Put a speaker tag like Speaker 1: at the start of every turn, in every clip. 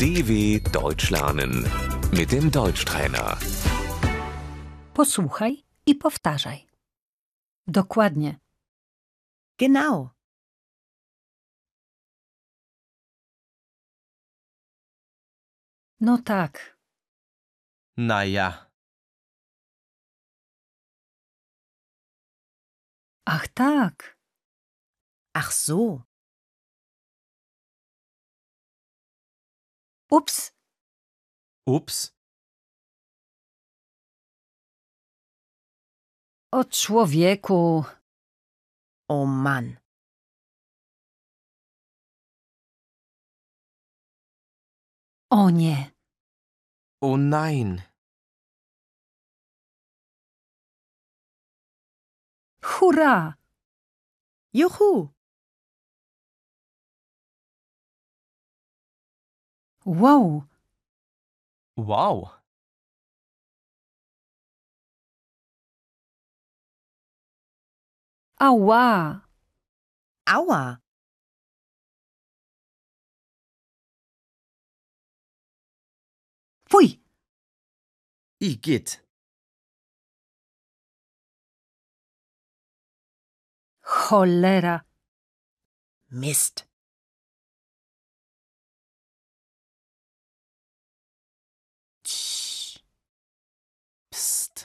Speaker 1: DW Deutsch lernen mit dem Deutschtrainer.
Speaker 2: Posłuchaj i powtarzaj. Dokładnie.
Speaker 3: Genau,
Speaker 2: No tak.
Speaker 4: Naja,
Speaker 2: Ach tak.
Speaker 3: ach so,
Speaker 2: Ups,
Speaker 4: ups,
Speaker 2: o człowieku.
Speaker 3: oh Mann,
Speaker 2: O nie.
Speaker 4: oh nein,
Speaker 2: Hurra!
Speaker 3: juhu,
Speaker 2: Wow,
Speaker 4: wow,
Speaker 2: ała.
Speaker 3: aua,
Speaker 2: Fuj,
Speaker 4: igitt,
Speaker 2: cholera.
Speaker 3: Mist,
Speaker 4: psst,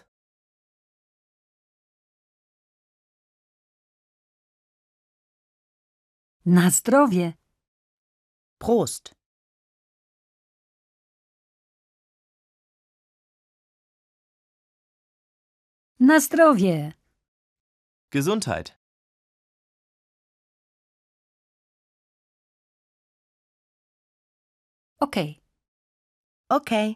Speaker 2: Na zdrowie.
Speaker 3: Prost,
Speaker 2: Na zdrowie.
Speaker 4: Gesundheit,
Speaker 2: Okej.
Speaker 3: okay,